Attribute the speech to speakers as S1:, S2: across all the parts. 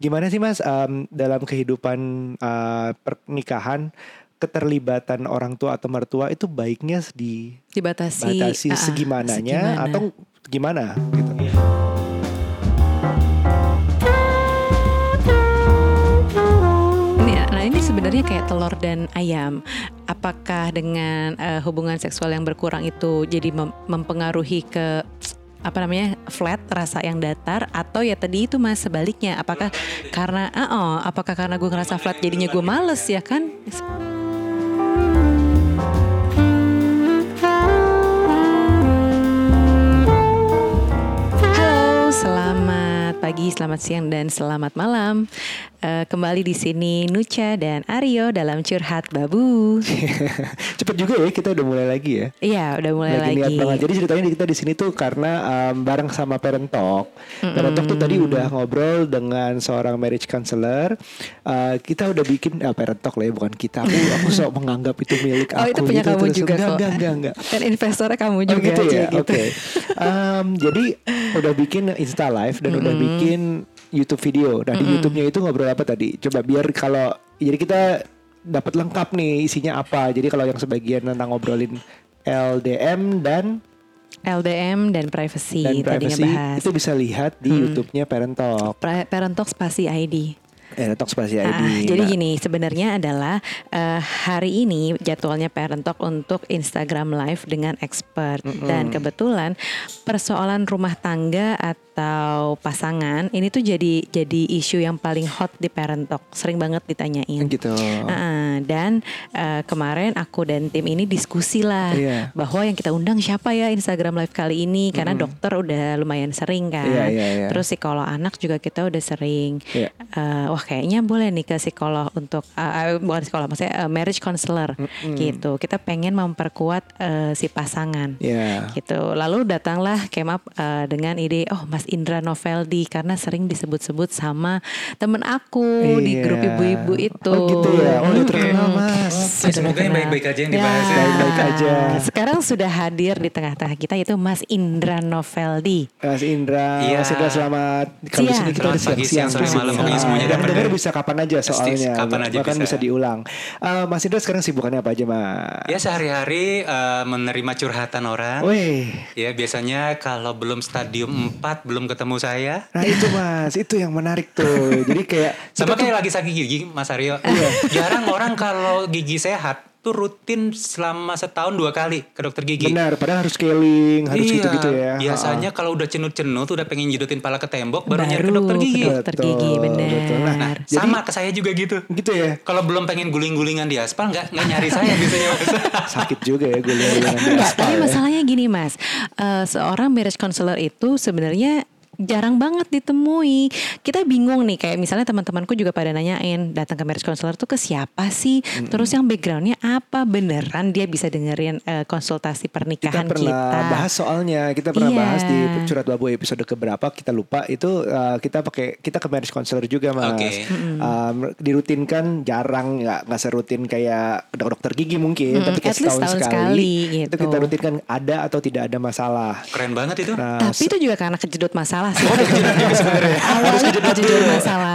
S1: Gimana sih Mas em, dalam kehidupan eh, pernikahan keterlibatan orang tua atau mertua itu baiknya dibatasi
S2: dibatasi ah, ah,
S1: segimananya
S2: segimana.
S1: atau gimana gitu.
S2: Ini, nah ini sebenarnya kayak telur dan ayam. Apakah dengan eh, hubungan seksual yang berkurang itu jadi mem- mempengaruhi ke apa namanya flat rasa yang datar atau ya tadi itu mas sebaliknya apakah karena ah, oh apakah karena gue ngerasa flat jadinya gue males ya kan Halo, selamat pagi, selamat siang, dan selamat malam. Eh, kembali di sini Nucha dan Aryo dalam curhat babu.
S1: Cepet juga ya kita udah mulai lagi ya.
S2: Iya, udah mulai
S1: lagi, niat
S2: lagi.
S1: banget. ya, Jadi ceritanya kita di sini tuh karena em, bareng sama Parent Talk. Parent Talk tuh tadi udah ngobrol dengan seorang marriage counselor. Eh, kita udah bikin eh, Parent Talk lah ya bukan kita. Aku aku sok menganggap itu milik
S2: Oh,
S1: aku.
S2: itu punya
S1: gitu.
S2: kamu
S1: Terus,
S2: juga
S1: enggak,
S2: kok.
S1: enggak, enggak, enggak.
S2: Dan investornya kamu
S1: Oh,
S2: juga
S1: gitu
S2: aja
S1: ya.
S2: gitu.
S1: Oke. Em, jadi udah bikin Insta Live dan udah bikin YouTube video. Nah, di YouTube-nya itu ngobrol apa tadi? Coba biar kalau jadi kita dapat lengkap nih isinya apa. Jadi kalau yang sebagian tentang ngobrolin LDM dan
S2: LDM dan privacy
S1: dan
S2: Iya, tadi
S1: privacy
S2: ngebahas.
S1: itu bisa lihat di YouTube-nya eh, Parent Talk.
S2: Pra- Parent Talk Spasi ID.
S1: Parent Talk Spasi ID.
S2: Ah, jadi
S1: Nah,
S2: gini, sebenarnya adalah eh, hari ini jadwalnya Parent Talk untuk Instagram Live dengan expert dan kebetulan persoalan rumah tangga atau pasangan ini tuh jadi jadi isu yang paling hot di Parent Talk. Sering banget ditanyain.
S1: gitu.
S2: Ah, dan eh, kemarin aku dan tim ini diskusi lah
S1: Iya.
S2: bahwa yang kita undang siapa ya Instagram Live kali ini karena dokter udah lumayan sering kan,
S1: Iya, iya, iya.
S2: terus psikolog anak juga kita udah sering.
S1: Iya.
S2: Eh, wah kayaknya boleh nih ke psikolog untuk eh, eh, bukan psikolog maksudnya eh, marriage counselor gitu. Kita pengen memperkuat eh, si pasangan.
S1: Ya.
S2: Gitu. Lalu datanglah Kemap eh, dengan ide, oh Mas Indra Noveldi karena sering disebut-sebut sama temen aku di
S1: Iya.
S2: grup ibu-ibu itu.
S1: Oh gitu ya. Oh, udah
S2: Mm-mm.
S1: terkenal, Mas.
S2: Oke,
S1: Oke,
S2: sudah
S3: Eh, semoga yang
S2: terkenal.
S3: baik-baik aja yang dibahas ya.
S1: Baik-baik aja.
S2: Sekarang sudah hadir di tengah-tengah kita yaitu Mas Indra Noveldi.
S1: Mas Indra,
S3: Iya.
S1: Mas Indra selamat. Kalau di
S2: Siang.
S1: sini kita
S3: Selamat
S1: udah siang,
S3: pagi,
S1: siang,
S3: siang, sore,
S1: di sini.
S3: malam. Pokoknya semuanya
S1: Ah,
S3: dapat
S1: dengar
S3: deh.
S1: bisa kapan aja
S3: Pasti
S1: soalnya.
S3: kapan aja
S1: Bahkan bisa.
S3: bisa.
S1: diulang. Eh, Mas Indra sekarang sibukannya apa aja, Mas?
S3: Ya sehari-hari eh, menerima curhatan orang.
S1: Wih,
S3: Ya biasanya kalau belum
S1: Hmm.
S3: stadium 4 belum ketemu saya.
S1: nah itu Mas, itu yang menarik tuh. Jadi kayak
S3: Sama kayak lagi sakit gigi Mas Aryo.
S1: Iya.
S3: Jarang orang kalau gigi sehat tuh rutin selama setahun dua kali ke dokter gigi.
S1: benar, padahal harus scaling, harus
S3: Iya,
S1: gitu-gitu ya.
S3: Biasanya kalau udah cenut-cenut udah pengen judutin pala ke tembok baru, nyari ke
S2: Baru
S3: dokter gigi.
S2: ke dokter gigi,
S1: Betul,
S2: benar.
S1: betul. Nah,
S3: Nah,
S1: Jadi-
S3: sama ke saya juga gitu.
S1: Ha-ha. Gitu ya.
S3: Kalau belum pengen guling-gulingan di aspal nggak nggak nyari saya biasanya. Mas.
S1: Sakit juga ya gue lihat
S2: Enggak, tapi
S1: Iya.
S2: masalahnya gini mas, Eh, seorang marriage counselor itu sebenarnya jarang banget ditemui. Kita bingung nih, kayak misalnya teman-temanku juga pada nanyain datang ke marriage counselor tuh ke siapa sih? Terus yang backgroundnya apa? Beneran dia bisa dengerin eh, konsultasi
S1: kita
S2: pernikahan kita?
S1: pernah bahas soalnya kita pernah
S2: Iya.
S1: bahas di curhat babu episode keberapa kita lupa itu uh, kita pakai kita ke marriage counselor juga mas
S3: Oke.
S1: Um, dirutinkan jarang nggak nggak serutin kayak dok- dokter gigi mungkin
S2: Mm,
S1: tapi kayak
S2: at least
S1: setahun,
S2: tahun
S1: sekali,
S2: sekali,
S1: itu
S2: gitu.
S1: kita rutinkan ada atau tidak ada masalah
S3: Keren banget itu.
S1: nah
S2: Tapi itu juga karena kejedot masalah
S3: Oh,
S2: sih. Awalnya kejedot masalah.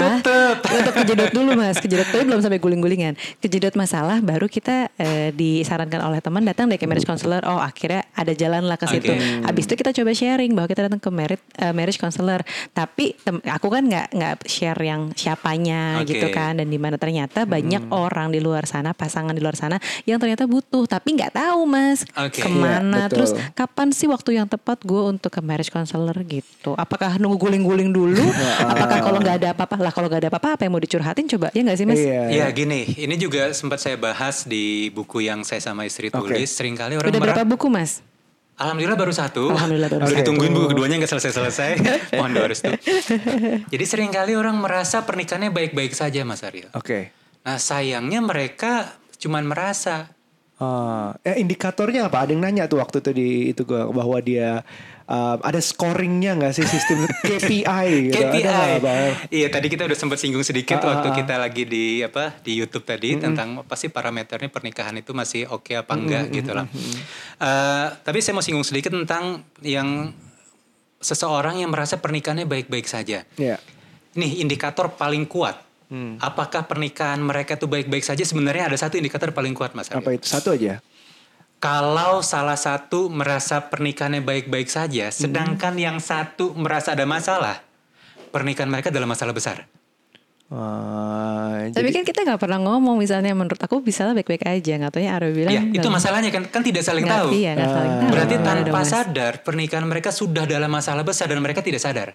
S2: Untuk kejedot dulu mas, kejedot tapi belum sampai guling-gulingan. Kejedot masalah baru kita eh, disarankan oleh teman datang dari ke marriage counselor. Oh akhirnya ada jalan lah ke situ.
S3: Oke.
S2: Habis itu kita coba sharing bahwa kita datang ke merit, eh, marriage counselor. Tapi tem- aku kan nggak nggak share yang siapanya
S3: Oke. Hmm.
S2: gitu kan dan di mana ternyata banyak orang di luar sana, pasangan di luar sana yang ternyata butuh tapi nggak tahu mas
S3: Oke.
S1: Iya,
S2: kemana.
S1: betul.
S2: Terus kapan sih waktu yang tepat gue untuk ke marriage counselor gitu? Apakah nunggu guling-guling dulu? Apakah kalau nggak ada apa-apa lah? Kalau nggak ada apa-apa, apa yang mau dicurhatin coba ya nggak sih mas?
S1: iya
S3: Iya gini, ini juga sempat saya bahas di buku yang saya sama istri
S1: Oke.
S3: tulis. Seringkali orang
S2: Udah berapa
S3: merasa-
S2: buku mas?
S3: Alhamdulillah baru satu.
S2: Alhamdulillah baru
S3: Udah
S1: satu.
S3: ditungguin buku keduanya nggak selesai-selesai. Mohon doa restu. Jadi seringkali orang merasa pernikahannya baik-baik saja Mas Aryo.
S1: oke
S3: Nah sayangnya mereka cuman merasa.
S1: Ah, eh indikatornya apa? Ada yang nanya tuh waktu itu di itu gua bahwa dia um, ada scoringnya nggak sih sistem KPI? Gitu. Ada nggak,
S3: KPI.
S1: Bang?
S3: Iya tadi kita udah sempat singgung sedikit
S1: Ah, ah,
S3: waktu
S1: ah.
S3: kita lagi di apa di YouTube tadi tentang apa sih parameternya pernikahan itu masih oke apa enggak gitu lah. Eh, tapi saya mau singgung sedikit tentang yang seseorang yang merasa pernikahannya baik-baik saja.
S1: Iya.
S3: nih indikator paling kuat.
S1: Hmm.
S3: Apakah pernikahan mereka tuh baik-baik saja? Sebenarnya ada satu indikator paling kuat, Mas. Aryo.
S1: Apa itu satu aja? ya?
S3: Kalau salah satu merasa pernikahannya baik-baik
S2: Hmm.
S3: saja, sedangkan yang satu merasa ada masalah, pernikahan mereka adalah masalah besar.
S1: Wah,
S2: Tapi
S1: jadi-
S2: kan kita nggak pernah ngomong misalnya menurut aku bisa lah baik-baik aja nggak taunya Aryo bilang
S3: Iya, itu
S2: nggak-
S3: masalahnya kan kan tidak saling
S2: nggak-
S3: tahu.
S2: Iya, nggak saling tahu.
S3: Berarti
S2: Udah
S3: tanpa
S2: mas.
S3: sadar pernikahan mereka sudah dalam masalah besar dan mereka tidak sadar.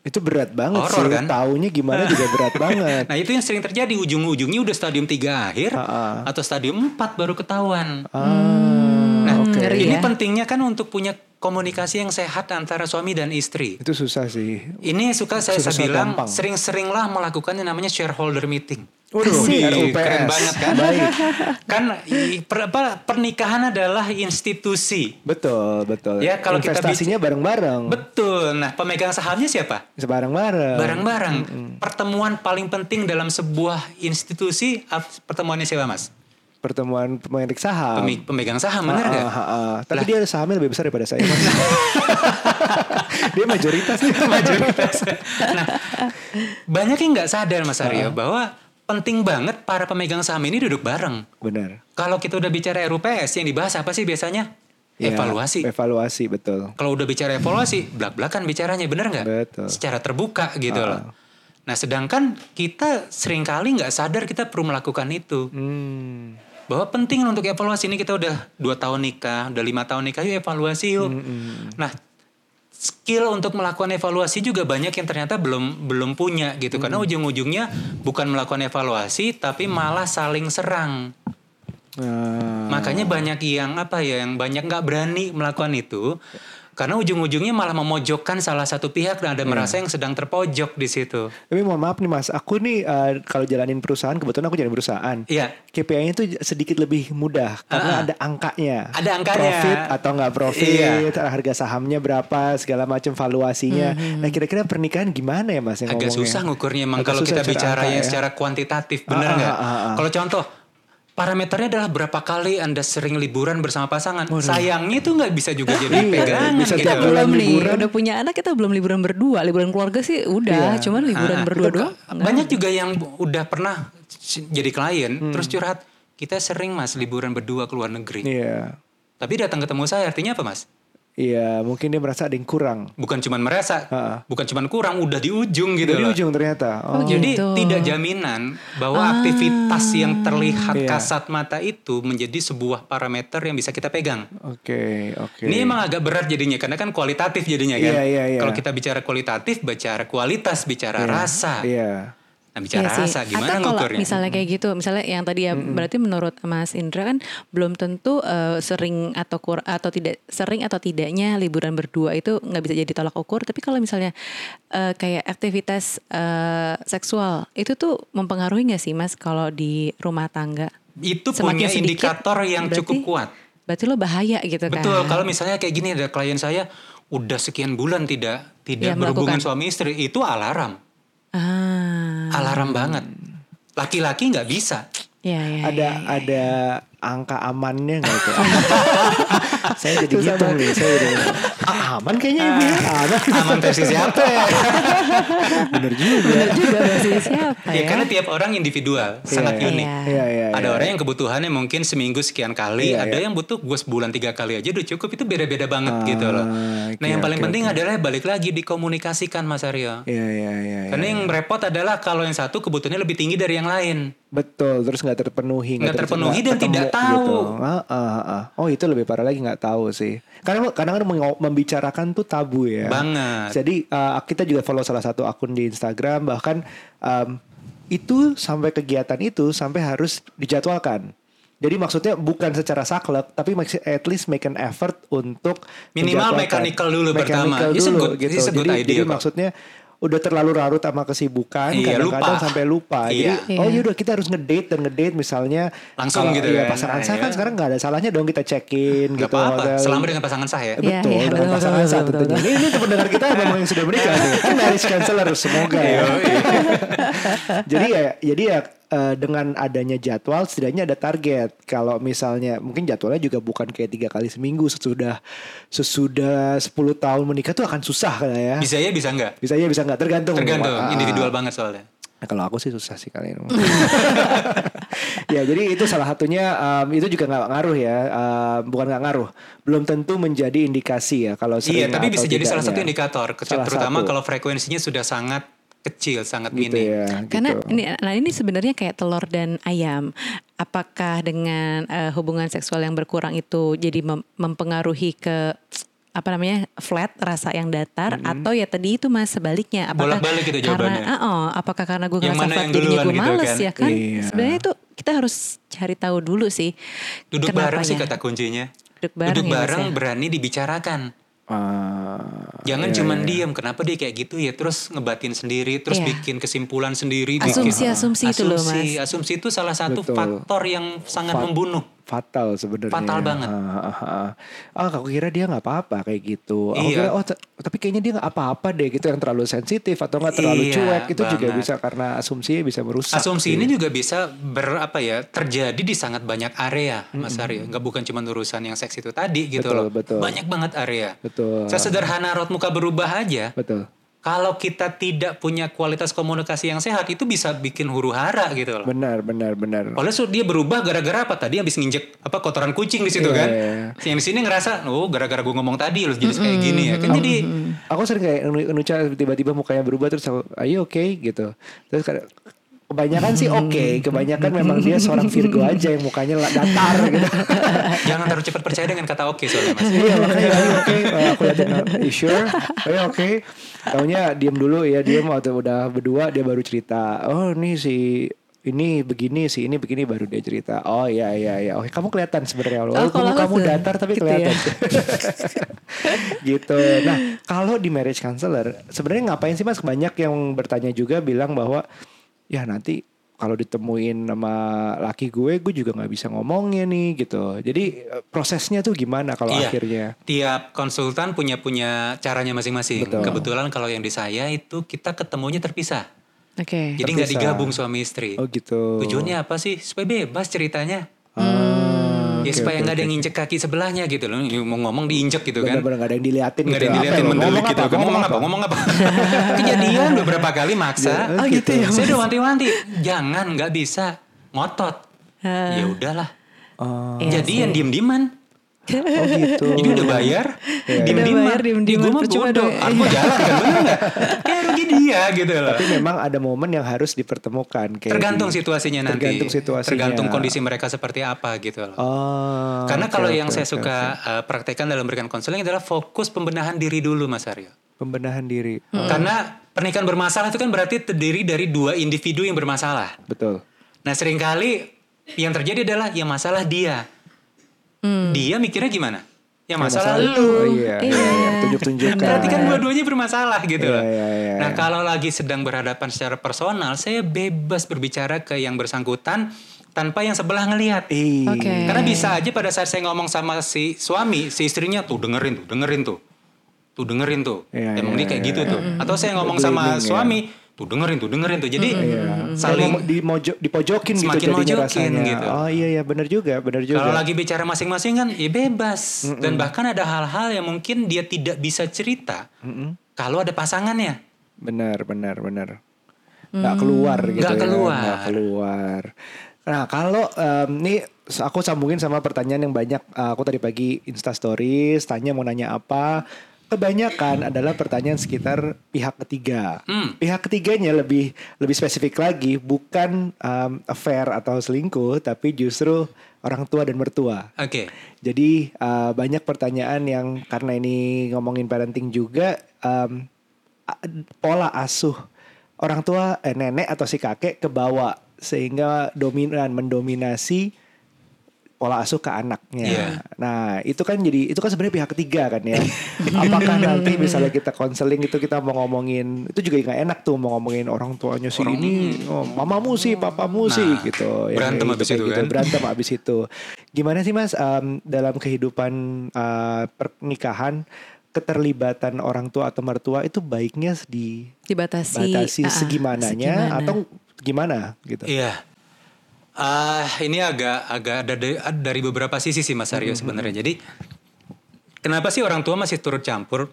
S1: itu berat banget sih.
S3: Horor kan?
S1: Taunya gimana juga berat banget.
S3: Nah, itu yang sering terjadi ujung-ujungnya udah stadium 3 akhir
S1: Ah,
S3: atau stadium 4 baru ketahuan.
S1: Ah,
S3: Nah,
S1: oke.
S2: ngeri. ya.
S3: ini pentingnya kan untuk punya komunikasi yang sehat antara suami dan istri.
S1: Itu susah sih.
S3: Ini suka saya
S1: Susah-susah
S3: bilang
S1: gampang.
S3: sering-seringlah melakukan yang namanya shareholder meeting.
S1: Waduh, Iya,
S2: Asik.
S1: RUPS.
S3: Keren banget kan?
S1: Baik.
S3: kan i- per- apa, pernikahan adalah institusi.
S1: Betul, betul.
S3: Ya, kalau kita
S1: investasinya bareng-bareng.
S3: Betul. Nah, pemegang sahamnya siapa?
S1: Sebareng-bareng.
S3: Barang-barang.
S1: mm,
S3: Pertemuan paling penting dalam sebuah institusi ap- pertemuannya siapa, Mas?
S1: Pertemuan pemilik saham.
S3: Pemi- pemegang saham,
S1: Ah,
S3: benar nggak?
S1: ah, ah. Tapi dia
S3: Lah.
S1: sahamnya lebih besar daripada saya. Mas. dia mayoritas nih.
S3: Mayoritas. nah, banyak yang nggak sadar, Mas
S1: Ah.
S3: Aryo, bahwa penting banget para pemegang saham ini duduk bareng.
S1: Benar.
S3: Kalau kita udah bicara RUPS, yang dibahas apa sih biasanya?
S1: Ya,
S3: Evaluasi.
S1: Evaluasi, betul.
S3: Kalau udah bicara evaluasi, belak-belakan bicaranya, bener nggak?
S1: Betul.
S3: Secara terbuka gitu loh. Nah, sedangkan kita seringkali nggak sadar kita perlu melakukan itu.
S1: Hmm.
S3: Bahwa penting untuk evaluasi ini kita udah dua tahun nikah, udah lima tahun nikah, yuk evaluasi yuk. Nah, skill untuk melakukan evaluasi juga banyak yang ternyata belum belum punya gitu. Karena ujung-ujungnya bukan melakukan evaluasi, tapi malah saling serang.
S1: Ah,
S3: Makanya banyak yang apa ya, yang banyak nggak berani melakukan itu karena ujung-ujungnya malah memojokkan salah satu pihak dan ada
S1: Iya.
S3: merasa yang sedang terpojok di situ.
S1: Tapi mohon maaf nih mas, aku nih eh, kalau jalanin perusahaan, kebetulan aku jalanin perusahaan.
S3: Iya.
S1: KPI-nya tuh sedikit lebih mudah karena ada angkanya.
S3: Ah, Ada angkanya.
S1: Profit atau nggak
S3: Iya.
S1: profit, harga sahamnya berapa, segala macam valuasinya. Nah kira-kira pernikahan gimana ya mas yang
S3: Hmm, Agak
S1: ngomongnya?
S3: susah ngukurnya emang
S1: Agak
S3: kalau
S1: susah
S3: kita bicara
S1: angka
S3: yang
S1: ya.
S3: secara kuantitatif, bener
S1: Ah, ah,
S3: nggak?
S1: ah, ah, ah.
S3: Kalau contoh parameternya adalah berapa kali anda sering liburan bersama pasangan. Sayangnya itu nggak bisa juga jadi
S1: Iya,
S3: pegangan
S1: bisa
S3: gitu.
S1: tiap bulan.
S2: belum nih
S1: liburan.
S2: udah punya anak kita belum liburan berdua liburan keluarga sih udah
S1: Iya.
S2: cuman
S3: Ah,
S2: liburan berdua doang
S3: Banyak juga yang udah pernah jadi klien terus curhat. Kita sering mas liburan berdua ke luar negeri.
S1: Hmm. Iya,
S3: Tapi datang ketemu saya artinya apa mas?
S1: iya mungkin dia merasa ada yang kurang.
S3: Bukan cuman merasa,
S1: Ha-ha.
S3: bukan cuman kurang, udah di ujung gitu
S1: Jadi
S3: loh.
S1: ujung ternyata. Oh,
S3: Jadi
S2: gitu. Ah.
S3: tidak jaminan bahwa aktivitas yang terlihat
S1: Iya.
S3: kasat mata itu menjadi sebuah parameter yang bisa kita pegang.
S1: Oke, oke.
S3: Ini emang agak berat jadinya karena kan kualitatif jadinya kan.
S1: Iya, iya, iya.
S3: Kalau kita bicara kualitatif, bicara kualitas, bicara rasa.
S1: Iya.
S3: Nah,
S2: Iya
S3: bicara
S2: sih.
S3: rasa gimana
S2: Atau kalau
S3: ngukurnya?
S2: misalnya kayak gitu, misalnya yang tadi ya berarti menurut Mas Indra kan belum tentu eh, sering atau kur atau tidak sering atau tidaknya liburan berdua itu nggak bisa jadi tolak ukur. Tapi kalau misalnya eh, kayak aktivitas eh, seksual itu tuh mempengaruhi nggak sih Mas kalau di rumah tangga?
S3: Itu
S2: Semakin
S3: punya
S2: sedikit,
S3: indikator yang cukup
S2: berarti-
S3: kuat.
S2: Berarti lo bahaya gitu kan?
S3: Betul, kalau misalnya kayak gini ada klien saya udah sekian bulan tidak
S2: Iya,
S3: tidak berhubungan
S2: melakukan.
S3: suami istri, itu alarm.
S2: Ah,
S1: Hmm.
S3: Alarm banget. Laki-laki nggak bisa.
S2: ya ya.
S1: Ada ada angka amannya nggak itu? saya jadi gitu nih, saya jadi gitu. Ah, aman kayaknya ibu ya. Aman.
S3: Aman versi siapa? ya?
S1: Bener juga.
S2: Bener juga versi siapa
S3: ya,
S2: ya?
S3: karena tiap orang individual, sangat
S1: Ah, Iya,
S3: unik.
S2: Iya.
S1: Iya, iya.
S3: Ada
S1: iya.
S3: orang yang kebutuhannya mungkin seminggu sekian kali,
S1: Iya,
S3: ada
S1: iya.
S3: yang butuh gue sebulan tiga kali aja udah cukup. Itu beda-beda banget gitu loh.
S1: Ah,
S3: Nah
S1: oke,
S3: yang paling
S1: oke,
S3: penting adalah balik lagi dikomunikasikan Mas Aryo.
S1: Iya, iya, iya. iya.
S3: Karena yang repot adalah kalau yang satu kebutuhannya lebih tinggi dari yang lain.
S1: Betul, terus nggak terpenuhi,
S3: Nggak terpenuhi
S1: nggak
S3: dan tidak
S1: ketemu
S3: tahu.
S1: Ah, ah, ah. Oh itu lebih parah lagi nggak tahu sih. Karena kadang kadang mengo- membicarakan tuh tabu ya.
S3: Banget.
S1: Jadi eh, kita juga follow salah satu akun di Instagram bahkan em, itu sampai kegiatan itu sampai harus dijadwalkan. Jadi maksudnya bukan secara saklek tapi maks- at least make an effort untuk menjadwalkan.
S3: Minimal mechanical dulu pertama.
S1: Mechanical
S3: It's a
S1: dulu,
S3: good-
S1: gitu.
S3: it's a good
S1: jadi,
S3: idea
S1: jadi
S3: kok.
S1: maksudnya udah terlalu larut sama kesibukan
S3: Iya,
S1: kadang-kadang
S3: lupa.
S1: sampai lupa. Jadi
S3: Iya.
S1: Oh yaudah kita harus ngedate dan ngedate misalnya
S3: Langsung
S1: kalau-
S3: gitu
S1: iya,
S3: kan.
S1: pasangan
S3: Nah,
S1: saya kan
S3: iya.
S1: sekarang nggak ada salahnya dong kita check in
S3: Gak
S1: gitu
S3: apa-apa,
S1: hotel. Eh,
S3: selama dengan pasangan saya.
S2: Iya,
S1: Betul,
S2: iya,
S1: dengan
S2: betul,
S1: pasangan
S2: betul,
S1: saya
S2: betul,
S1: tentunya. Ini, ini pendengar kita memang yang sudah menikah nih. Kan marriage counselor semoga ya.
S3: Yoi.
S1: jadi ya jadi ya eh, dengan adanya jadwal setidaknya ada target. Kalau misalnya mungkin jadwalnya juga bukan kayak tiga kali seminggu sesudah sesudah 10 tahun menikah tuh akan susah kan ya.
S3: Bisa ya bisa nggak?
S1: Bisa ya bisa nggak tergantung.
S3: Tergantung,
S1: Ah, ah.
S3: individual banget soalnya.
S1: Nah, kalau aku sih susah sih kali ini. ya jadi itu salah satunya em, itu juga nggak ngaruh ya, em, bukan nggak ngaruh, belum tentu menjadi indikasi ya kalau sering
S3: Iya, tapi
S1: atau
S3: bisa jadi salah
S1: tidaknya.
S3: satu indikator, ke-
S1: Salah
S3: terutama
S1: satu.
S3: kalau frekuensinya sudah sangat kecil, sangat
S1: gitu
S3: minim.
S1: ya.
S2: Karena
S1: gitu.
S2: ini, nah ini sebenarnya kayak telur dan ayam. Apakah dengan eh, hubungan seksual yang berkurang itu jadi mem- mempengaruhi ke apa namanya flat rasa yang datar atau ya tadi itu mas sebaliknya apakah
S3: Mm-hmm. Bolak-balik itu
S2: karena
S3: jawabannya.
S2: ah, oh, apakah karena gue
S3: Yang
S2: ngerasa
S3: mana
S2: flat
S3: yang
S2: jadinya gue
S3: duluan gitu
S2: males
S3: kan?
S2: ya kan
S1: Iya.
S2: sebenarnya itu kita harus cari tahu dulu sih
S3: Duduk bareng sih
S2: kenapanya.
S3: kata kuncinya.
S2: Duduk bareng
S3: Duduk
S2: ya, Mas,
S3: bareng
S2: ya.
S3: berani dibicarakan.
S1: Ah,
S3: Jangan
S1: Oh, iya,
S3: cuman
S1: iya.
S3: diem, kenapa dia kayak gitu ya? Terus ngebatin sendiri, terus
S2: Iya.
S3: bikin kesimpulan sendiri. bikin-
S2: Asumsi-asumsi itu loh,
S3: Asumsi-
S2: Mas.
S3: Asumsi itu salah satu
S1: Betul.
S3: faktor yang sangat
S1: Fak-
S3: membunuh.
S1: fatal sebenarnya.
S3: Fatal banget.
S1: Ah, ah, ah. ah aku kira dia nggak apa-apa kayak gitu. Aku
S3: Iya.
S1: kira oh t- tapi kayaknya dia nggak apa-apa deh gitu yang terlalu sensitif atau nggak terlalu
S3: Iya,
S1: cuek itu juga
S3: banget.
S1: bisa karena asumsinya bisa merusak. sih.
S3: Asumsi ini juga bisa ber apa ya terjadi di sangat banyak area, Mas Aryo. Nggak bukan cuma urusan yang seks itu tadi gitu
S1: Betul,
S3: loh.
S1: betul.
S3: Banyak banget area.
S1: Betul.
S3: Sesederhana rot muka berubah aja.
S1: Betul.
S3: Kalau kita tidak punya kualitas komunikasi yang sehat itu bisa bikin huru hara gitu loh.
S1: Benar, benar, benar.
S3: Oleh so, dia berubah gara-gara apa tadi habis nginjek apa kotoran kucing di situ
S1: Iya,
S3: kan.
S1: iya,
S3: Yang di sini ngerasa oh gara-gara gue ngomong tadi lu jadi kayak gini ya. Kan jadi
S1: Aku sering kayak Anu- Anuca tiba-tiba mukanya berubah terus aku, "Are you okay?" gitu. Terus kadang kebanyakan sih
S2: Hmm.
S1: oke, kebanyakan memang dia seorang Virgo aja yang mukanya la- datar gitu.
S3: jangan terlalu cepat percaya dengan kata oke soalnya Mas.
S1: Iya makanya "Are you oke Eh, aku liatin "You sure Are you oke taunya diem dulu ya diem waktu udah berdua dia baru cerita oh ini si ini begini si ini begini baru dia cerita oh iya iya iya oke kamu kelihatan sebenarnya
S2: Oh,
S1: walaupun
S2: kalau
S1: kamu
S2: aku tuh
S1: datar tapi
S2: gitu
S1: kelihatan
S2: ya.
S1: gitu nah kalau di marriage counselor sebenarnya ngapain sih mas banyak yang bertanya juga bilang bahwa ya nanti kalau ditemuin sama laki gue gue juga nggak bisa ngomongnya nih gitu jadi eh, prosesnya tuh gimana kalau
S3: Iya.
S1: akhirnya
S3: Tiap konsultan punya punya caranya masing-masing.
S1: Betul.
S3: Kebetulan kalau yang di saya itu kita ketemunya terpisah.
S2: oke
S3: Jadi nggak
S1: Eh, Terpisah.
S3: digabung suami istri.
S1: Oh gitu.
S3: Tujuannya apa sih? Supaya bebas ceritanya.
S1: Ah,
S3: ya
S1: oke,
S3: supaya
S1: oke,
S3: nggak ada yang
S1: oke.
S3: injek kaki sebelahnya gitu loh. Mau ngomong diinjek gitu kan.
S1: Bener-bener nggak ada yang diliatin
S3: Nggak ada
S1: gitu.
S3: yang
S1: Apa
S3: diliatin
S1: ya lo?
S3: mendelik
S1: Ngomong
S3: gitu.
S1: apa?
S3: Ngomong, apa? Ngomong apa? Kejadian beberapa kali maksa.
S1: Ya, oh gitu ya,
S3: Saya udah wanti-wanti. Jangan, nggak bisa. Ngotot. Ya udahlah.
S1: Oh,
S2: Iya
S3: Jadi yang diem-dieman.
S1: oh gitu.
S3: Jadi udah bayar,
S1: Iya.
S2: Udah
S3: diem-dieman.
S2: bayar, diem-dieman,
S3: Gue mah
S2: percuma
S3: bodoh.
S2: dong. Iya.
S3: Aku jalan kan, bener nggak? Ya rugi dia gitu loh.
S1: Tapi memang ada momen yang harus dipertemukan. Kayak
S3: Tergantung
S1: di-
S3: situasinya nanti.
S1: Tergantung situasinya.
S3: Tergantung kondisi mereka seperti apa gitu loh.
S1: Oh,
S3: Karena
S1: oke,
S3: kalau
S1: oke,
S3: yang saya
S1: oke,
S3: suka
S1: oke.
S3: uh, praktekkan dalam berikan konseling adalah fokus pembenahan diri dulu Mas Aryo.
S1: Pembenahan diri.
S3: Karena pernikahan bermasalah itu kan berarti terdiri dari dua individu yang bermasalah.
S1: Betul.
S3: Nah seringkali yang terjadi adalah yang masalah dia. Dia mikirnya gimana? Yang masalah, lu.
S1: Oh, iya. iya,
S2: Iya.
S1: iya. Tunjuk-tunjukkan.
S3: Berarti kan dua-duanya bermasalah gitu
S1: Iya,
S3: loh.
S1: iya, iya,
S3: nah
S1: iya.
S3: kalau lagi sedang berhadapan secara personal, saya bebas berbicara ke yang bersangkutan tanpa yang sebelah ngelihat.
S1: Ih,
S2: Oke.
S3: Karena bisa aja pada saat saya ngomong sama si suami, si istrinya tuh dengerin tuh, dengerin tuh. Tuh dengerin tuh.
S1: Iya,
S3: Emang
S1: iya,
S3: dia kayak
S1: iya,
S3: gitu
S1: iya.
S3: tuh. Atau saya ngomong sama
S1: Blaming, ya.
S3: suami, tuh dengerin tuh, dengerin tuh. Jadi
S1: Iya.
S3: saling
S1: Kayak mau- dimojo- dipojokin gitu
S3: Semakin
S1: jadinya
S3: mojokin
S1: rasanya.
S3: gitu.
S1: Oh iya iya benar juga, benar juga.
S3: Kalau lagi bicara masing-masing kan ya bebas dan bahkan ada hal-hal yang mungkin dia tidak bisa cerita kalau ada pasangannya.
S1: Benar, benar, benar. Nggak keluar gitu
S3: Hmm. Nggak
S1: ya.
S3: keluar.
S1: Nggak keluar. Nah kalau em, ini s- aku sambungin sama pertanyaan yang banyak. eh, aku tadi pagi Insta Stories tanya mau nanya apa. Kebanyakan adalah pertanyaan sekitar pihak ketiga.
S3: Hmm.
S1: Pihak ketiganya lebih lebih spesifik lagi, bukan em, affair atau selingkuh, tapi justru orang tua dan mertua.
S3: Oke.
S1: Jadi uh, banyak pertanyaan yang karena ini ngomongin parenting juga um, a- pola asuh orang tua eh, nenek atau si kakek ke bawah sehingga dominan mendominasi pola asuh ke anaknya.
S3: Iya.
S1: Nah, itu kan jadi itu kan sebenarnya pihak ketiga kan ya. Apakah nanti misalnya kita konseling itu kita mau ngomongin itu juga nggak enak tuh mau ngomongin orang tuanya sih ini, oh, mamamu sih, papamu
S3: Nah,
S1: sih gitu. Ya,
S3: berantem
S1: kayak
S3: habis
S1: kayak
S3: itu kan.
S1: berantem abis itu. Gimana sih mas em, dalam kehidupan eh, pernikahan keterlibatan orang tua atau mertua itu baiknya di
S2: dibatasi
S1: batasi
S2: ah, ah,
S1: segimananya
S2: segimana.
S1: atau gimana gitu.
S3: Iya. Ah, ini agak agak ada dari, ada dari beberapa sisi sih Mas Aryo sebenarnya. Jadi kenapa sih orang tua masih turut campur?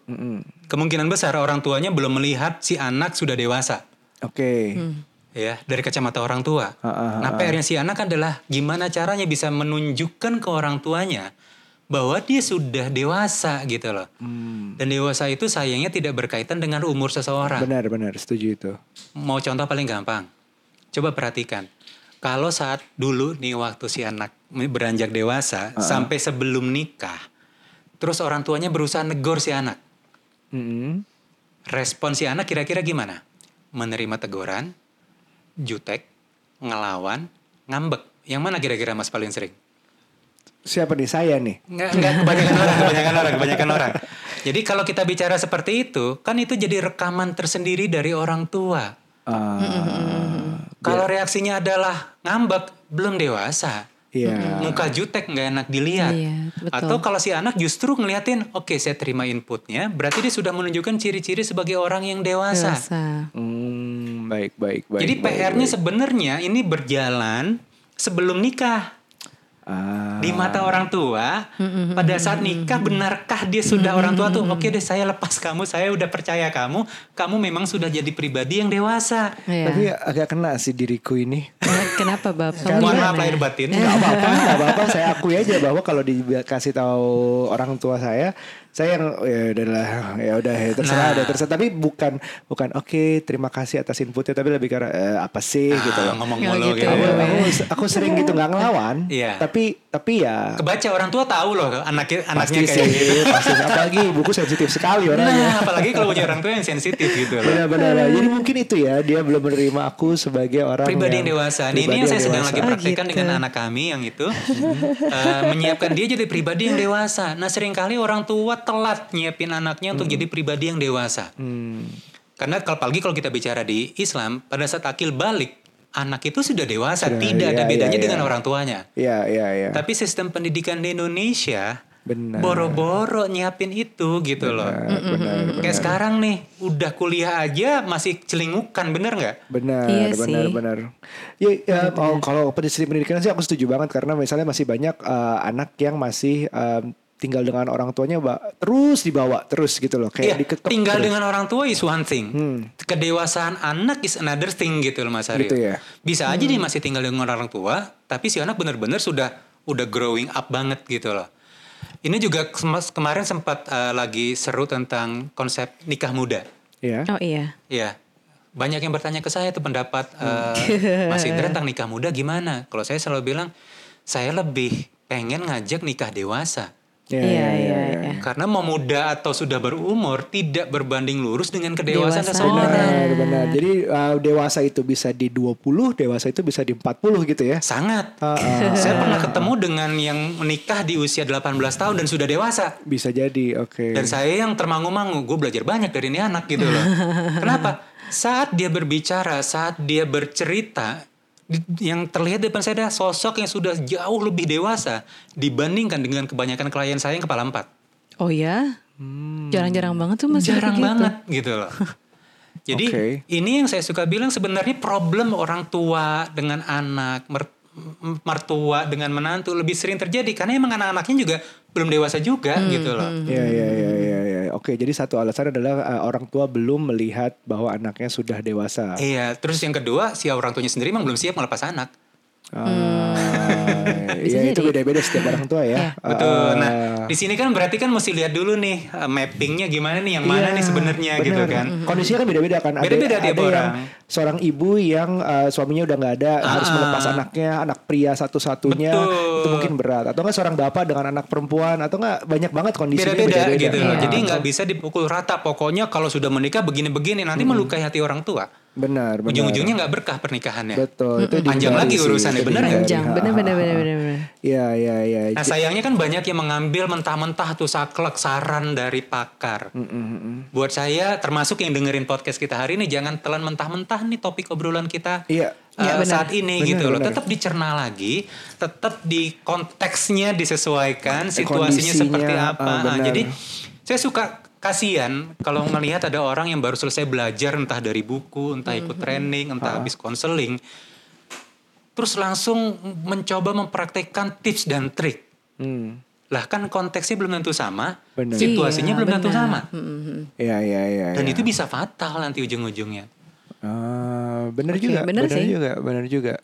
S3: Kemungkinan besar orang tuanya belum melihat si anak sudah dewasa.
S1: Oke.
S2: Hmm.
S3: Ya, dari kacamata orang tua.
S1: Ah, ah,
S3: nah, PR-nya si anak adalah gimana caranya bisa menunjukkan ke orang tuanya bahwa dia sudah dewasa gitu loh.
S1: Mm. Hmm,
S3: Dan dewasa itu sayangnya tidak berkaitan dengan umur seseorang.
S1: Benar-benar setuju itu.
S3: Mau contoh paling gampang. Coba perhatikan. Kalau saat dulu nih waktu si anak beranjak dewasa sampai sebelum nikah, terus orang tuanya berusaha negor si anak.
S1: Mm-mm.
S3: Respon si anak kira-kira gimana? Menerima teguran, jutek, ngelawan, ngambek. Yang mana kira-kira Mas paling sering?
S1: Siapa nih saya nih?
S3: Nggak, nggak, kebanyakan orang, kebanyakan orang, kebanyakan orang. Jadi kalau kita bicara seperti itu, kan itu jadi rekaman tersendiri dari orang tua.
S1: Ah,
S3: Kalau reaksinya adalah ngambek, belum dewasa.
S1: Iya.
S3: Muka jutek nggak enak dilihat.
S2: Ya. Iya, betul.
S3: Atau kalau si anak justru ngeliatin, oke saya terima inputnya, berarti dia sudah menunjukkan ciri-ciri sebagai orang yang dewasa.
S2: Dewasa.
S1: Hmm, baik baik baik.
S3: Jadi
S1: baik,
S3: PR-nya
S1: baik.
S3: sebenarnya ini berjalan sebelum nikah.
S1: Ah,
S3: Di mata orang tua, pada saat nikah benarkah dia sudah orang tua tuh? Oke deh saya lepas kamu, saya udah percaya kamu, kamu memang sudah jadi pribadi yang dewasa.
S2: Iya.
S1: Tapi agak kena sih diriku ini.
S2: Eh, Kenapa Bapak? Kamu Eh.
S3: Mohon
S2: gimana?
S3: maaf lahir batin.
S1: Gak apa-apa, gak apa-apa. Saya akui aja bahwa kalau dikasih tahu orang tua saya, saya yang ya udahlah, ya udah ya terserah,
S3: Nah.
S1: udah terserah. Tapi bukan bukan oke, terima kasih atas inputnya, tapi lebih karena "Eh, apa sih
S3: Ah,
S1: gitu loh.
S3: ngomong
S2: Nggak
S3: mulu
S2: gitu.
S3: gitu.
S1: Aku, aku, aku sering gitu nggak ngelawan,
S3: Iya.
S1: tapi tapi ya
S3: kebaca orang tua tahu loh anaknya
S1: pasti
S3: anaknya kayak
S1: sih, Iya,
S3: gitu.
S1: pasti apalagi buku sensitif sekali orangnya.
S3: Nah, apalagi kalau punya orang tua yang sensitif gitu
S1: Iya,
S3: loh.
S1: Benar-benar. Jadi mungkin itu ya dia belum menerima aku sebagai orang ya.
S3: Pribadi yang dewasa.
S1: pribadi
S3: Nih, ini yang saya sedang
S1: dewasa.
S3: lagi praktekkan
S2: Oh, gitu.
S3: dengan anak kami yang itu eh, menyiapkan dia jadi pribadi yang dewasa. Nah, seringkali orang tua telat nyiapin anaknya untuk jadi pribadi yang dewasa.
S1: Hmm.
S3: Karena kalau pagi kalau kita bicara di Islam, pada saat akil balik anak itu sudah dewasa,
S1: Sudah,
S3: tidak ada
S1: iya,
S3: bedanya
S1: iya,
S3: dengan
S1: iya.
S3: orang tuanya.
S1: Iya, iya, iya.
S3: Tapi sistem pendidikan di Indonesia
S1: Benar.
S3: boro-boro nyiapin itu gitu loh.
S1: Benar, benar,
S3: Kayak sekarang nih, udah kuliah aja masih celingukan, bener nggak?
S1: Benar,
S2: Iya sih.
S1: benar, benar. Ya, ya, oh, kalau pendidikan pendidikan sih aku setuju banget karena misalnya masih banyak eh, anak yang masih eh, tinggal dengan orang tuanya Mbak, terus dibawa terus gitu loh kayak
S3: Iya,
S1: diketok terus.
S3: tinggal
S1: Hmm.
S3: dengan orang tua is one thing. Kedewasaan anak is another thing gitu loh Mas Aryo.
S1: Gitu ya.
S3: Bisa aja dia masih tinggal dengan orang tua, tapi si anak bener-bener sudah udah growing up banget gitu loh. Ini juga kema- kemarin sempat eh, lagi seru tentang konsep nikah muda.
S1: Iya.
S2: Oh iya.
S3: Iya. Banyak yang bertanya ke saya itu pendapat eh, Mas Indra tentang nikah muda gimana? Kalau saya selalu bilang saya lebih pengen ngajak nikah dewasa.
S1: Iya,
S2: Iya,
S1: iya,
S2: iya,
S1: iya.
S2: iya.
S3: Karena mau muda atau sudah berumur tidak berbanding lurus dengan kedewasaan
S2: Dewasa.
S3: seseorang.
S2: iya.
S1: Benar, benar. Jadi eh, dewasa itu bisa di 20, dewasa itu bisa di 40 gitu ya.
S3: Sangat.
S1: Ah, ah,
S3: Saya pernah ketemu dengan yang menikah di usia 18 tahun dan sudah dewasa.
S1: bisa jadi, oke.
S3: Dan saya yang termangu-mangu, gue belajar banyak dari ini anak gitu loh. Kenapa? Saat dia berbicara, saat dia bercerita, di- yang terlihat di depan saya adalah sosok yang sudah jauh lebih dewasa dibandingkan dengan kebanyakan klien saya yang kepala empat.
S2: Oh ya? Jarang-jarang banget tuh masih
S3: Hmm. Jarang
S2: begitu.
S3: banget gitu loh. Jadi
S1: Oke.
S3: ini yang saya suka bilang sebenarnya problem orang tua dengan anak, mer- m- mertua dengan menantu lebih sering terjadi karena emang anak-anaknya juga belum dewasa juga gitu loh.
S1: Iya, iya, iya, iya, iya. Oke, jadi satu alasan adalah eh, orang tua belum melihat bahwa anaknya sudah dewasa.
S3: Iya, terus yang kedua si orang tuanya sendiri emang belum siap melepas anak.
S1: Ah,
S2: Bisa
S1: ya itu
S2: jadi.
S1: beda-beda setiap orang tua ya. Ah,
S3: Betul.
S1: ah.
S3: Nah, di sini kan berarti kan mesti lihat dulu nih eh, mappingnya gimana nih yang mana
S1: Iya,
S3: nih sebenarnya gitu
S1: benar.
S3: kan.
S1: Kondisinya kan beda-beda kan. Ada-
S3: Beda-beda
S1: ada,
S3: tiap orang.
S1: yang seorang ibu yang eh, suaminya udah nggak ada harus
S3: Ah.
S1: melepas anaknya, anak pria satu-satunya
S3: Betul.
S1: itu mungkin berat. Atau nggak seorang bapak dengan anak perempuan atau nggak banyak banget kondisinya
S3: Beda-beda
S1: beda-beda.
S3: gitu loh.
S1: Ah,
S3: Jadi nggak bisa dipukul rata. Pokoknya kalau sudah menikah begini-begini nanti melukai hati orang tua.
S1: benar, Mhm. benar.
S3: Ujung-ujungnya nggak berkah pernikahannya.
S1: Betul. Itu
S3: Panjang
S1: dihindari
S3: lagi
S1: sih,
S3: urusannya,
S1: itu
S3: benar nggak? Iya.
S1: dihindari.
S2: Panjang.
S1: Ah,
S2: Bener
S1: ah,
S2: bener
S1: ah.
S2: bener bener. bener.
S1: Iya, iya, iya.
S3: Nah sayangnya kan banyak yang mengambil mentah-mentah tuh saklek saran dari pakar. Buat saya termasuk yang dengerin podcast kita hari ini jangan telan mentah-mentah nih topik obrolan kita
S1: Iya.
S3: eh,
S2: Iya, benar.
S3: saat ini
S1: Benar,
S3: gitu loh.
S1: benar.
S3: Tetap dicerna lagi, tetap di konteksnya disesuaikan, situasinya
S1: Eh, Kondisinya,
S3: seperti
S1: ah,
S3: apa. Ah,
S1: benar.
S3: Jadi saya suka kasihan kalau melihat ada orang yang baru selesai belajar entah dari buku, entah
S1: Mm-hmm.
S3: ikut training, entah habis konseling, terus langsung mencoba mempraktekkan tips dan trik.
S1: Hmm.
S3: Lah kan konteksnya belum tentu sama,
S1: Bener.
S2: Iya,
S3: situasinya belum tentu
S2: benar.
S3: sama.
S2: Mm-mm.
S1: Ya ya ya.
S3: Dan
S1: ya.
S3: itu bisa fatal nanti ujung-ujungnya.
S1: Ah, bener
S2: Oke,
S1: juga,
S2: bener
S1: bener,
S2: sih.
S1: juga, bener juga.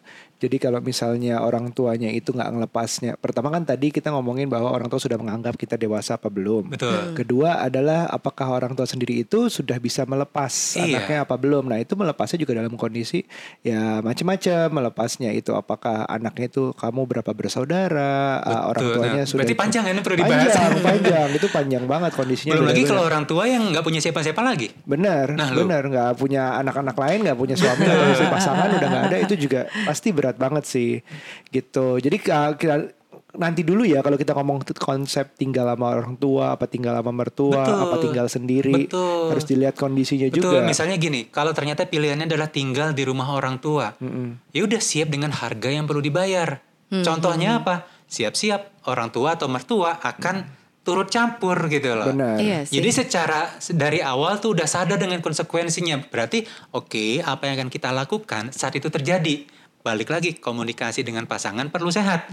S1: Jadi kalau misalnya orang tuanya itu nggak ngelepasnya, pertama kan tadi kita ngomongin bahwa orang tua sudah menganggap kita dewasa apa belum.
S2: Hmm.
S3: Betul.
S1: Kedua adalah apakah orang tua sendiri itu sudah bisa melepas
S3: Iya.
S1: anaknya apa belum. Nah itu melepasnya juga dalam kondisi ya macam-macam melepasnya itu apakah anaknya itu kamu berapa bersaudara, ah, orang
S3: Betul.
S1: tuanya
S3: Nah,
S1: sudah
S3: berarti panjang ya, ini perlu dibahas.
S1: panjang, panjang itu panjang banget kondisinya.
S3: Belum lagi
S1: beda-beda.
S3: kalau orang tua yang nggak punya siapa-siapa lagi.
S1: Benar,
S3: Nah, lu.
S1: benar nggak punya anak-anak lain, nggak punya suami, nggak punya pasangan udah nggak ada itu juga pasti berat banget sih gitu. Jadi ka- kita nanti dulu ya kalau kita ngomong t- konsep tinggal sama orang tua, apa tinggal sama mertua,
S3: Betul.
S1: apa tinggal sendiri,
S3: Betul.
S1: harus dilihat kondisinya
S3: Betul,
S1: Iya juga.
S3: misalnya gini, kalau ternyata pilihannya adalah tinggal di rumah orang tua, ya udah siap dengan harga yang perlu dibayar. Contohnya apa? Siap-siap orang tua atau mertua akan turut campur gitu loh.
S1: Benar.
S2: Iya sih.
S3: Jadi secara dari awal tuh udah sadar dengan konsekuensinya. Berarti oke, apa yang akan kita lakukan saat itu terjadi. Balik lagi komunikasi dengan pasangan perlu sehat.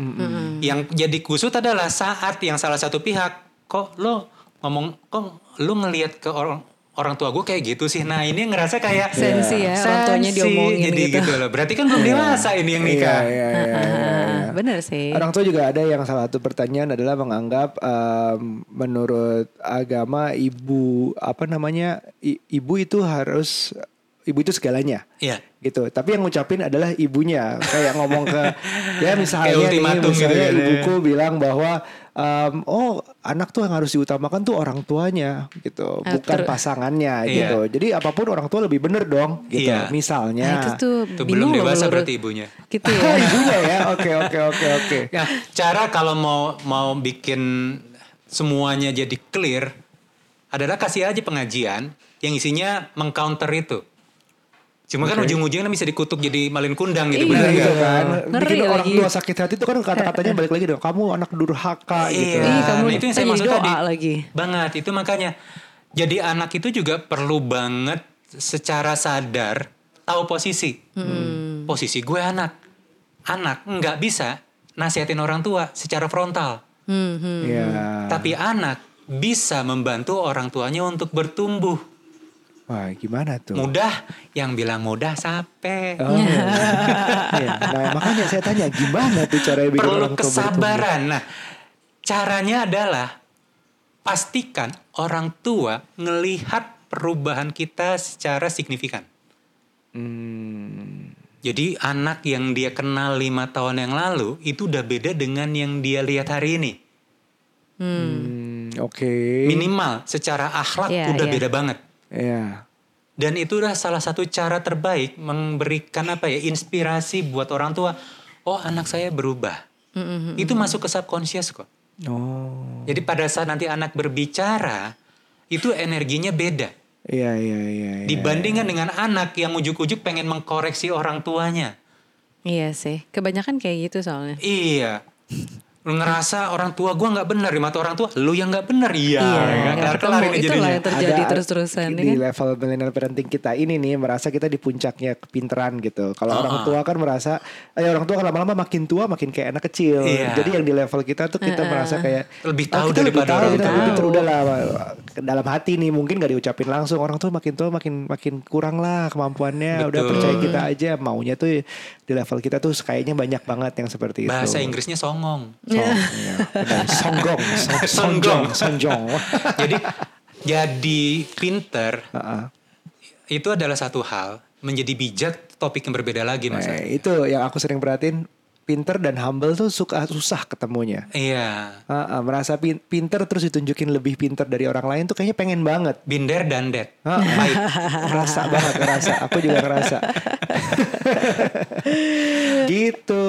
S3: Yang jadi kusut adalah saat yang salah satu pihak kok lo ngomong kok lo ngelihat ke orang orang tua gue kayak gitu sih. Nah, ini ngerasa kayak
S2: Sensi ya, orang tuanya
S3: sensi.
S2: diomongin
S3: jadi
S2: gitu.
S3: loh. Berarti kan belum dewasa ini yang nikah.
S1: Iya, iya, iya, iya, iya.
S2: Ah, Bener sih.
S1: Orang tua juga ada yang salah satu pertanyaan adalah menganggap em, menurut agama ibu apa namanya i- ibu itu harus ibu itu segalanya.
S3: Iya.
S1: gitu tapi yang ngucapin adalah ibunya kayak ngomong ke ya misalnya
S3: Kayak
S1: nih,
S3: ultimatum
S1: misalnya
S3: gitu kan,
S1: ibuku bilang bahwa em, oh anak tuh yang harus diutamakan tuh orang tuanya gitu
S2: Ah,
S1: bukan
S2: ter-
S1: pasangannya
S3: Iya.
S1: gitu jadi apapun orang tua lebih bener dong gitu
S3: Iya.
S2: Nah,
S1: misalnya
S2: itu tuh
S3: Itu
S2: bingung
S3: belum
S2: loh
S3: dewasa
S2: menurut-
S3: berarti ibunya.
S2: Gitu
S1: Ah,
S2: ya.
S1: ibunya ya oke oke oke oke
S3: Nah, cara kalau mau mau bikin semuanya jadi clear adalah kasih aja pengajian yang isinya mengcounter itu. Cuma kan ujung-ujungnya bisa dikutuk jadi malin kundang
S2: Iya.
S3: gitu,
S1: Bener
S3: benar
S1: gitu
S3: nggak?
S1: kan
S2: Ngeri
S1: Bikin orang
S2: lagi.
S1: tua sakit hati itu kan kata-katanya balik lagi dong Kamu anak durhaka gitu
S3: Iya,
S2: Ih, kamu
S3: nah, itu yang saya
S2: jadi
S3: maksud
S2: doa
S3: tadi.
S2: lagi.
S3: Banget, itu makanya. Jadi anak itu juga perlu banget secara sadar tahu posisi.
S2: Hmm.
S3: Posisi gue anak. Anak nggak bisa nasihatin orang tua secara frontal.
S2: Hmm, hmm.
S1: Iya
S3: Tapi anak bisa membantu orang tuanya untuk bertumbuh.
S1: Wah gimana tuh
S3: Mudah, yang bilang mudah sape.
S1: Oh. Iya. Nah, makanya saya tanya gimana tuh cara bikin orang tua
S3: Perlu
S1: bertumbuh?
S3: kesabaran. Nah, caranya adalah pastikan orang tua ngelihat perubahan kita secara signifikan.
S1: Hmm.
S3: Jadi anak yang dia kenal lima tahun yang lalu itu udah beda dengan yang dia lihat hari ini.
S1: Hmm, Oke.
S3: Minimal secara akhlak
S2: Iya,
S3: udah
S2: iya.
S3: beda banget.
S1: Ya.
S3: Dan itulah salah satu cara terbaik memberikan apa ya inspirasi buat orang tua. Oh anak saya berubah.
S2: hmm,
S3: Itu masuk ke subconscious kok.
S1: Oh.
S3: Jadi pada saat nanti anak berbicara itu energinya beda
S1: Iya, iya, iya. iya.
S3: dibandingkan dengan anak yang ujuk-ujuk pengen mengkoreksi orang tuanya.
S2: Iya sih. Kebanyakan kayak gitu soalnya.
S3: Iya. Lu ngerasa orang tua gua nggak benar di mata orang tua, lu yang nggak benar. Iya, nggak
S2: nggak
S3: kelar-kelar
S2: ketemu.
S3: ini
S2: Itulah
S3: jadinya.
S2: yang terjadi
S1: Ada-
S2: terus-terusan. ya
S1: di
S2: kan?
S1: level millennial parenting kita ini nih merasa kita di puncaknya kepintaran gitu. Kalau
S2: Ah,
S1: orang tua kan merasa eh orang tua kan lama-lama makin tua makin kayak anak kecil.
S3: Iya.
S1: Jadi yang di level kita tuh
S2: Ah,
S1: kita merasa kayak
S3: Lebih
S1: "Ah,
S3: tahu
S1: kita lebih
S3: daripada
S1: tahu,
S3: orang
S1: kita
S3: tua."
S1: lebih terudah lah dalam hati nih mungkin gak diucapin langsung orang tua makin tua makin makin kurang lah kemampuannya. Udah
S3: Betul.
S1: percaya kita aja maunya tuh di level kita tuh kayaknya banyak banget yang seperti itu.
S3: Bahasa Inggrisnya songong.
S1: Song, iya. Benar. Songgong, song- songjong, songjong.
S3: jadi jadi pinter
S1: Heeh.
S3: itu adalah satu hal menjadi bijak topik yang berbeda lagi mas
S1: Nah, itu yang aku sering perhatiin pinter dan humble tuh suka susah ketemunya.
S3: iya
S1: Ah, ah, merasa pin- pinter terus ditunjukin lebih pinter dari orang lain tuh kayaknya pengen banget.
S3: binder dan dead
S1: Ah, ah.
S3: baik
S1: Ngerasa banget ngerasa. Aku juga ngerasa. gitu.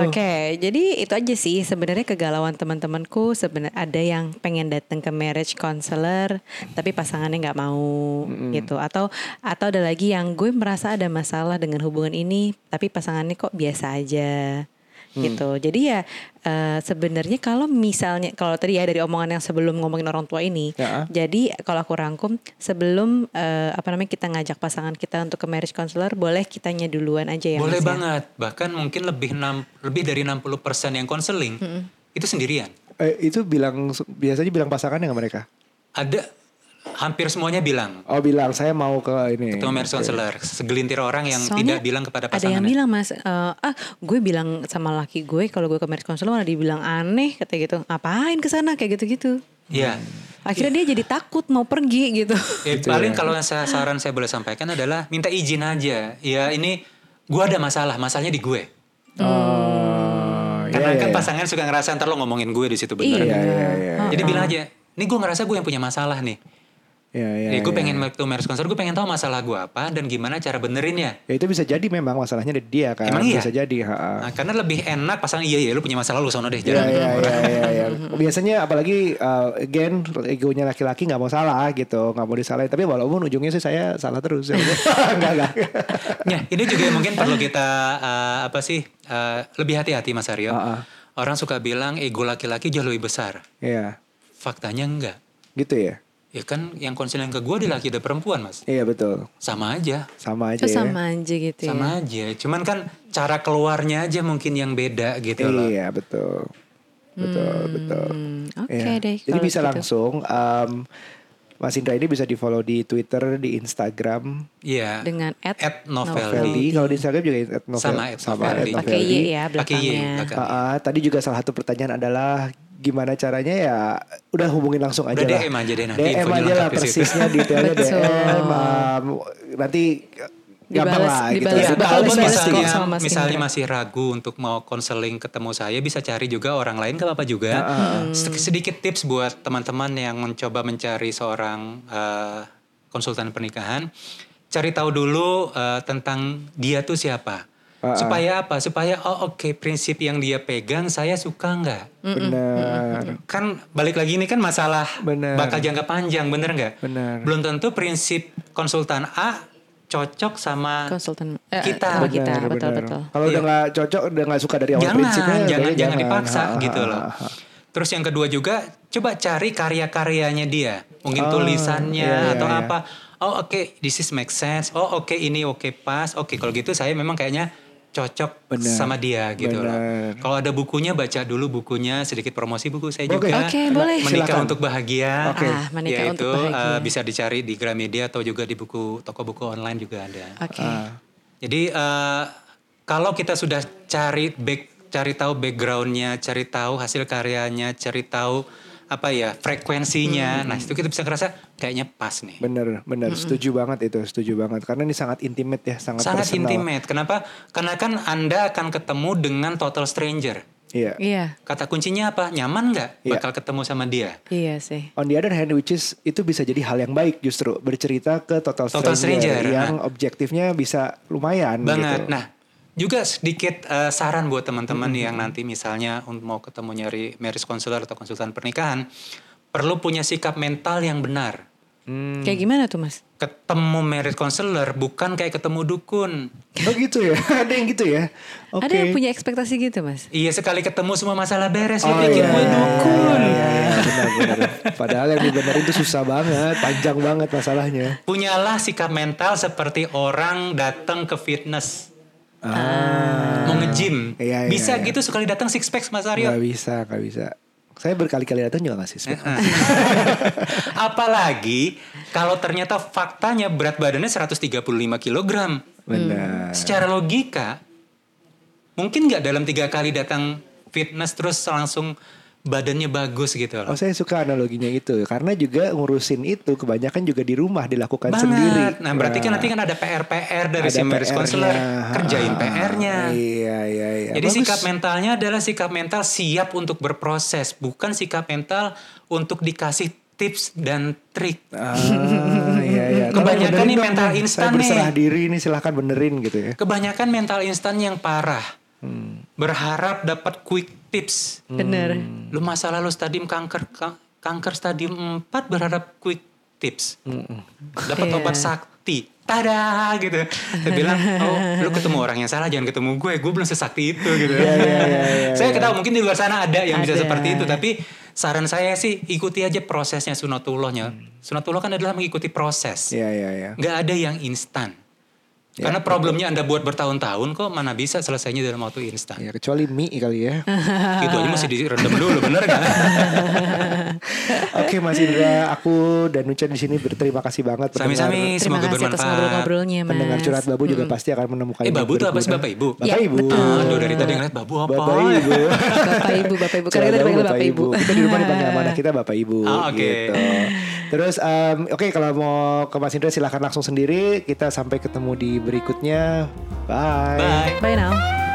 S2: Oke, jadi itu aja sih sebenarnya kegalauan teman-temanku sebenarnya ada yang pengen datang ke marriage counselor tapi pasangannya nggak mau gitu atau atau ada lagi yang gue merasa ada masalah dengan hubungan ini tapi pasangannya kok biasa aja gitu. Jadi ya eh, sebenarnya kalau misalnya kalau tadi ya dari omongan yang sebelum ngomongin orang tua ini,
S1: Ya.
S2: jadi kalau aku rangkum sebelum eh, apa namanya kita ngajak pasangan kita untuk ke marriage counselor, boleh kitanya duluan aja ya.
S3: Boleh
S2: Mas ya?
S3: banget. Bahkan mungkin lebih enam- lebih dari 60% yang konseling itu sendirian.
S1: Eh, itu bilang biasanya bilang pasangan dengan mereka.
S3: Ada hampir semuanya bilang
S1: Oh bilang saya mau ke ini.
S3: itu marriage counselor, segelintir orang yang
S2: Soalnya
S3: tidak bilang kepada
S2: Ada yang
S3: pasangannya.
S2: bilang mas, eh, ah gue bilang sama laki gue kalau gue ke marriage counselor malah dibilang aneh kata gitu. Ngapain ke sana kayak gitu-gitu.
S3: Iya.
S2: Akhirnya dia jadi takut mau pergi gitu.
S3: Ya, paling kalau saya, saran saya boleh sampaikan adalah minta izin aja. Ya ini gua ada masalah, masalahnya di gue.
S1: Oh, iya,
S3: Karena
S1: iya,
S3: kan
S1: iya.
S3: pasangan suka ngerasa ntar lo ngomongin gue di situ bener.
S1: Iya iya iya.
S3: Jadi bilang aja, ini gue ngerasa gue yang punya masalah nih.
S1: Iya iya.
S3: Eh, gue
S1: iya.
S3: pengen waktu marriage counselor, gue pengen tahu masalah gue apa dan gimana cara benerinnya.
S1: Ya itu bisa jadi memang masalahnya dari dia kan.
S3: Emang iya?
S1: Bisa jadi. Ha -ha.
S3: Nah, karena lebih enak pasangan iya ya lu punya masalah lu sono deh
S1: Iya
S2: ya,
S3: jangan.
S1: iya iya iya. iya. Biasanya apalagi uh, again egonya laki-laki nggak mau salah gitu, nggak mau disalahin. Tapi walaupun ujungnya sih saya salah terus. ya. Enggak enggak.
S3: Nah, ini juga mungkin perlu kita eh, apa sih eh, lebih hati-hati Mas Aryo.
S1: Ah, ah.
S3: Orang suka bilang ego laki-laki jauh lebih besar.
S1: Iya.
S3: Faktanya enggak.
S1: Gitu ya.
S3: Ya kan yang konseling ke gue di laki dan perempuan Mas.
S1: Iya betul.
S3: Sama aja.
S1: Sama aja.
S2: Itu
S1: ya.
S2: sama aja gitu ya.
S3: Sama aja. Cuman kan cara keluarnya aja mungkin yang beda gitu loh.
S1: Iya betul, betul, betul.
S2: Hmm, Oke
S1: Iya.
S2: deh.
S1: Jadi
S2: kalau
S1: bisa
S2: gitu.
S1: langsung. em, Mas Indra ini bisa di follow di Twitter, di Instagram,
S3: Iya.
S2: dengan at,
S3: At Noveldi.
S1: Noveldi. Kalau di Instagram juga at Novel-
S3: Sama at Noveldi.
S2: pakai y ya
S3: Pakai Y.
S2: belakangnya.
S3: belakang.
S1: Ah, ah, tadi juga salah satu pertanyaan adalah gimana caranya ya udah hubungin langsung aja
S3: Udah
S1: lah.
S3: DM aja deh nanti,
S1: DM
S3: infonya
S1: aja lah
S3: lengkap di situ.
S1: persisnya detailnya
S2: Betul.
S1: DM. um, nanti gampang
S2: Dibalas-
S1: lah gitu.
S2: dibalas-
S1: ya.
S2: Balas-
S3: Ya, kalau
S2: balas- balas
S3: misalnya,
S2: kok sama Mas
S3: misalnya
S2: Indra.
S3: masih ragu untuk mau konseling ketemu saya bisa cari juga orang lain gak apa-apa juga.
S2: Hmm.
S3: Sed- Sedikit tips buat teman-teman yang mencoba mencari seorang eh, konsultan pernikahan, cari tahu dulu eh, tentang dia tuh siapa. Supaya apa? Supaya oh oke prinsip yang dia pegang saya suka nggak?
S1: Benar.
S3: Kan balik lagi ini kan masalah
S1: Bener.
S3: bakal jangka panjang bener nggak?
S1: Bener.
S3: Belum tentu prinsip konsultan A cocok sama
S2: konsultan eh,
S3: Kita.
S2: sama kita
S1: Benar,
S2: betul
S1: benar.
S2: betul.
S1: Kalau udah nggak cocok, udah nggak suka dari awal
S3: Iya. jangan,
S1: prinsipnya,
S3: jangan, jangan,
S1: kayaknya
S3: dipaksa
S1: Ah, ah,
S3: gitu
S1: ah,
S3: loh.
S1: ah, ah.
S3: Terus yang kedua juga, coba cari karya-karyanya dia, mungkin
S1: Oh,
S3: tulisannya
S1: iya, iya,
S3: atau
S1: iya.
S3: apa. Oh oke, this is make sense. Oh oke, ini oke pas. Oke kalau gitu saya memang kayaknya cocok
S1: Benar,
S3: sama dia gitu loh.
S1: benar.
S3: Kalau ada bukunya baca dulu bukunya, sedikit promosi buku saya
S1: Oke.
S3: juga.
S2: Oke, boleh.
S3: Menikah
S1: Silakan.
S3: untuk bahagia.
S1: Oke.
S2: Ah, Menikah
S3: Yaitu,
S2: Untuk Bahagia.
S3: eh, bisa dicari di Gramedia atau juga di buku toko buku online juga ada.
S2: Oke.
S1: Ah.
S3: Jadi eh, kalau kita sudah cari back, cari tahu backgroundnya, cari tahu hasil karyanya, cari tahu apa ya
S1: Hmm.
S3: frekuensinya. Nah itu kita bisa ngerasa kayaknya pas nih.
S1: Bener, bener. Setuju banget itu, setuju banget. Karena ini sangat intimate ya, sangat,
S3: Sangat
S1: personal.
S3: intimate. Kenapa? Karena kan anda akan ketemu dengan total stranger.
S1: Iya.
S2: Iya.
S3: Kata kuncinya apa? Nyaman nggak
S1: Iya.
S3: bakal ketemu sama dia?
S2: Iya sih.
S1: On the other hand, which is itu bisa jadi hal yang baik justru bercerita ke total,
S3: Total stranger, nah.
S1: yang objektifnya bisa lumayan
S3: banget.
S1: gitu.
S3: Nah, juga sedikit eh, saran buat teman-teman
S1: Hmm.
S3: yang nanti misalnya un- mau ketemu nyari marriage counselor atau konsultan pernikahan, perlu punya sikap mental yang benar.
S1: Hmm.
S3: Hmm.
S2: Kayak gimana tuh mas?
S3: Ketemu marriage counselor bukan kayak ketemu dukun.
S1: Oh gitu ya, ada yang gitu ya. Oke.
S2: Ada yang punya ekspektasi gitu mas?
S3: Iya sekali ketemu semua masalah beres,
S1: Oh,
S3: lu
S1: iya,
S3: pikir gue dukun.
S1: iya, iya, benar, benar. Padahal yang dibenerin itu susah banget, panjang banget masalahnya.
S3: Punyalah sikap mental seperti orang datang ke fitness. Mau nge-gym.
S1: Ah. Iya, iya,
S3: Bisa
S1: iya.
S3: gitu sekali datang six pack Mas Aryo.
S1: Gak bisa, gak bisa. Saya berkali-kali datang juga gak sih? Sip?
S3: Apalagi kalau ternyata faktanya berat badannya 135 kg.
S1: Benar.
S3: Secara logika, mungkin nggak dalam tiga kali datang fitness terus langsung badannya bagus gitu
S1: Oh
S3: loh.
S1: saya suka analoginya itu karena juga ngurusin itu kebanyakan juga di rumah dilakukan
S3: Banget.
S1: sendiri.
S3: Nah berarti kan nanti kan ada PR-PR dari
S1: Ada
S3: si marriage
S1: PR-nya.
S3: counselor. Kerjain
S1: Ah,
S3: PR-nya.
S1: Iya iya iya.
S3: Jadi
S1: Bagus.
S3: sikap mentalnya adalah sikap mental siap untuk berproses. Bukan sikap mental untuk dikasih tips dan trik.
S1: Ah, iya, iya. Tolong
S3: Kebanyakan
S1: benerin
S3: nih
S1: dong,
S3: mental
S1: Bang.
S3: instan
S1: Saya berserah
S3: nih.
S1: diri nih silahkan benerin gitu ya.
S3: Kebanyakan mental instan yang parah.
S1: Hmm.
S3: Berharap dapat quick tips.
S2: Bener.
S3: Lu masalah lu stadium kanker ka- kanker stadium 4 berharap quick tips. Dapat
S2: Iya.
S3: obat sak- sakti tada gitu saya bilang oh lu ketemu orang yang salah jangan ketemu gue gue belum sesakti itu gitu
S2: Iya,
S3: saya ketahui mungkin di luar sana ada yang bisa
S2: Ada.
S3: seperti itu tapi saran saya sih ikuti aja prosesnya sunatullahnya sunatullah kan adalah mengikuti proses
S1: Iya, iya, iya.
S3: nggak ada yang instan
S2: Iya.
S3: karena problemnya anda buat bertahun-tahun kok mana bisa selesainya dalam waktu instan
S2: Iya.
S1: Ya, kecuali mie kali ya.
S3: gitu aja mesti direndam dulu bener nggak
S1: Oke Mas Indra, aku dan Nucen di sini berterima kasih banget. pendengar-
S3: sami-sami
S2: Terima
S3: semoga
S2: kasih atas
S3: bermanfaat
S2: ngobrol-ngobrolnya Iya, mas. Hmm.
S1: Pendengar curhat babu juga pasti akan menemukan.
S3: eh
S1: ini
S3: babu tuh apa sih
S1: berguna.
S3: bapak ibu
S1: Bapak
S2: Ya,
S1: ibu.
S2: betul.
S3: Aduh dari tadi ngeliat babu apa
S1: Bapak ibu.
S2: Bapak Ibu, Bapak Ibu. Karena kita
S1: Curhat
S2: dipanggil Bapak Ibu.
S1: Kita di rumah dipanggil amanah kita bapak ibu.
S3: Ah, oke.
S1: gitu. Terus em, oke kalau mau ke Mas Indra silahkan langsung sendiri. Kita sampai ketemu di berikutnya. Bye.
S3: bye
S2: Bye now.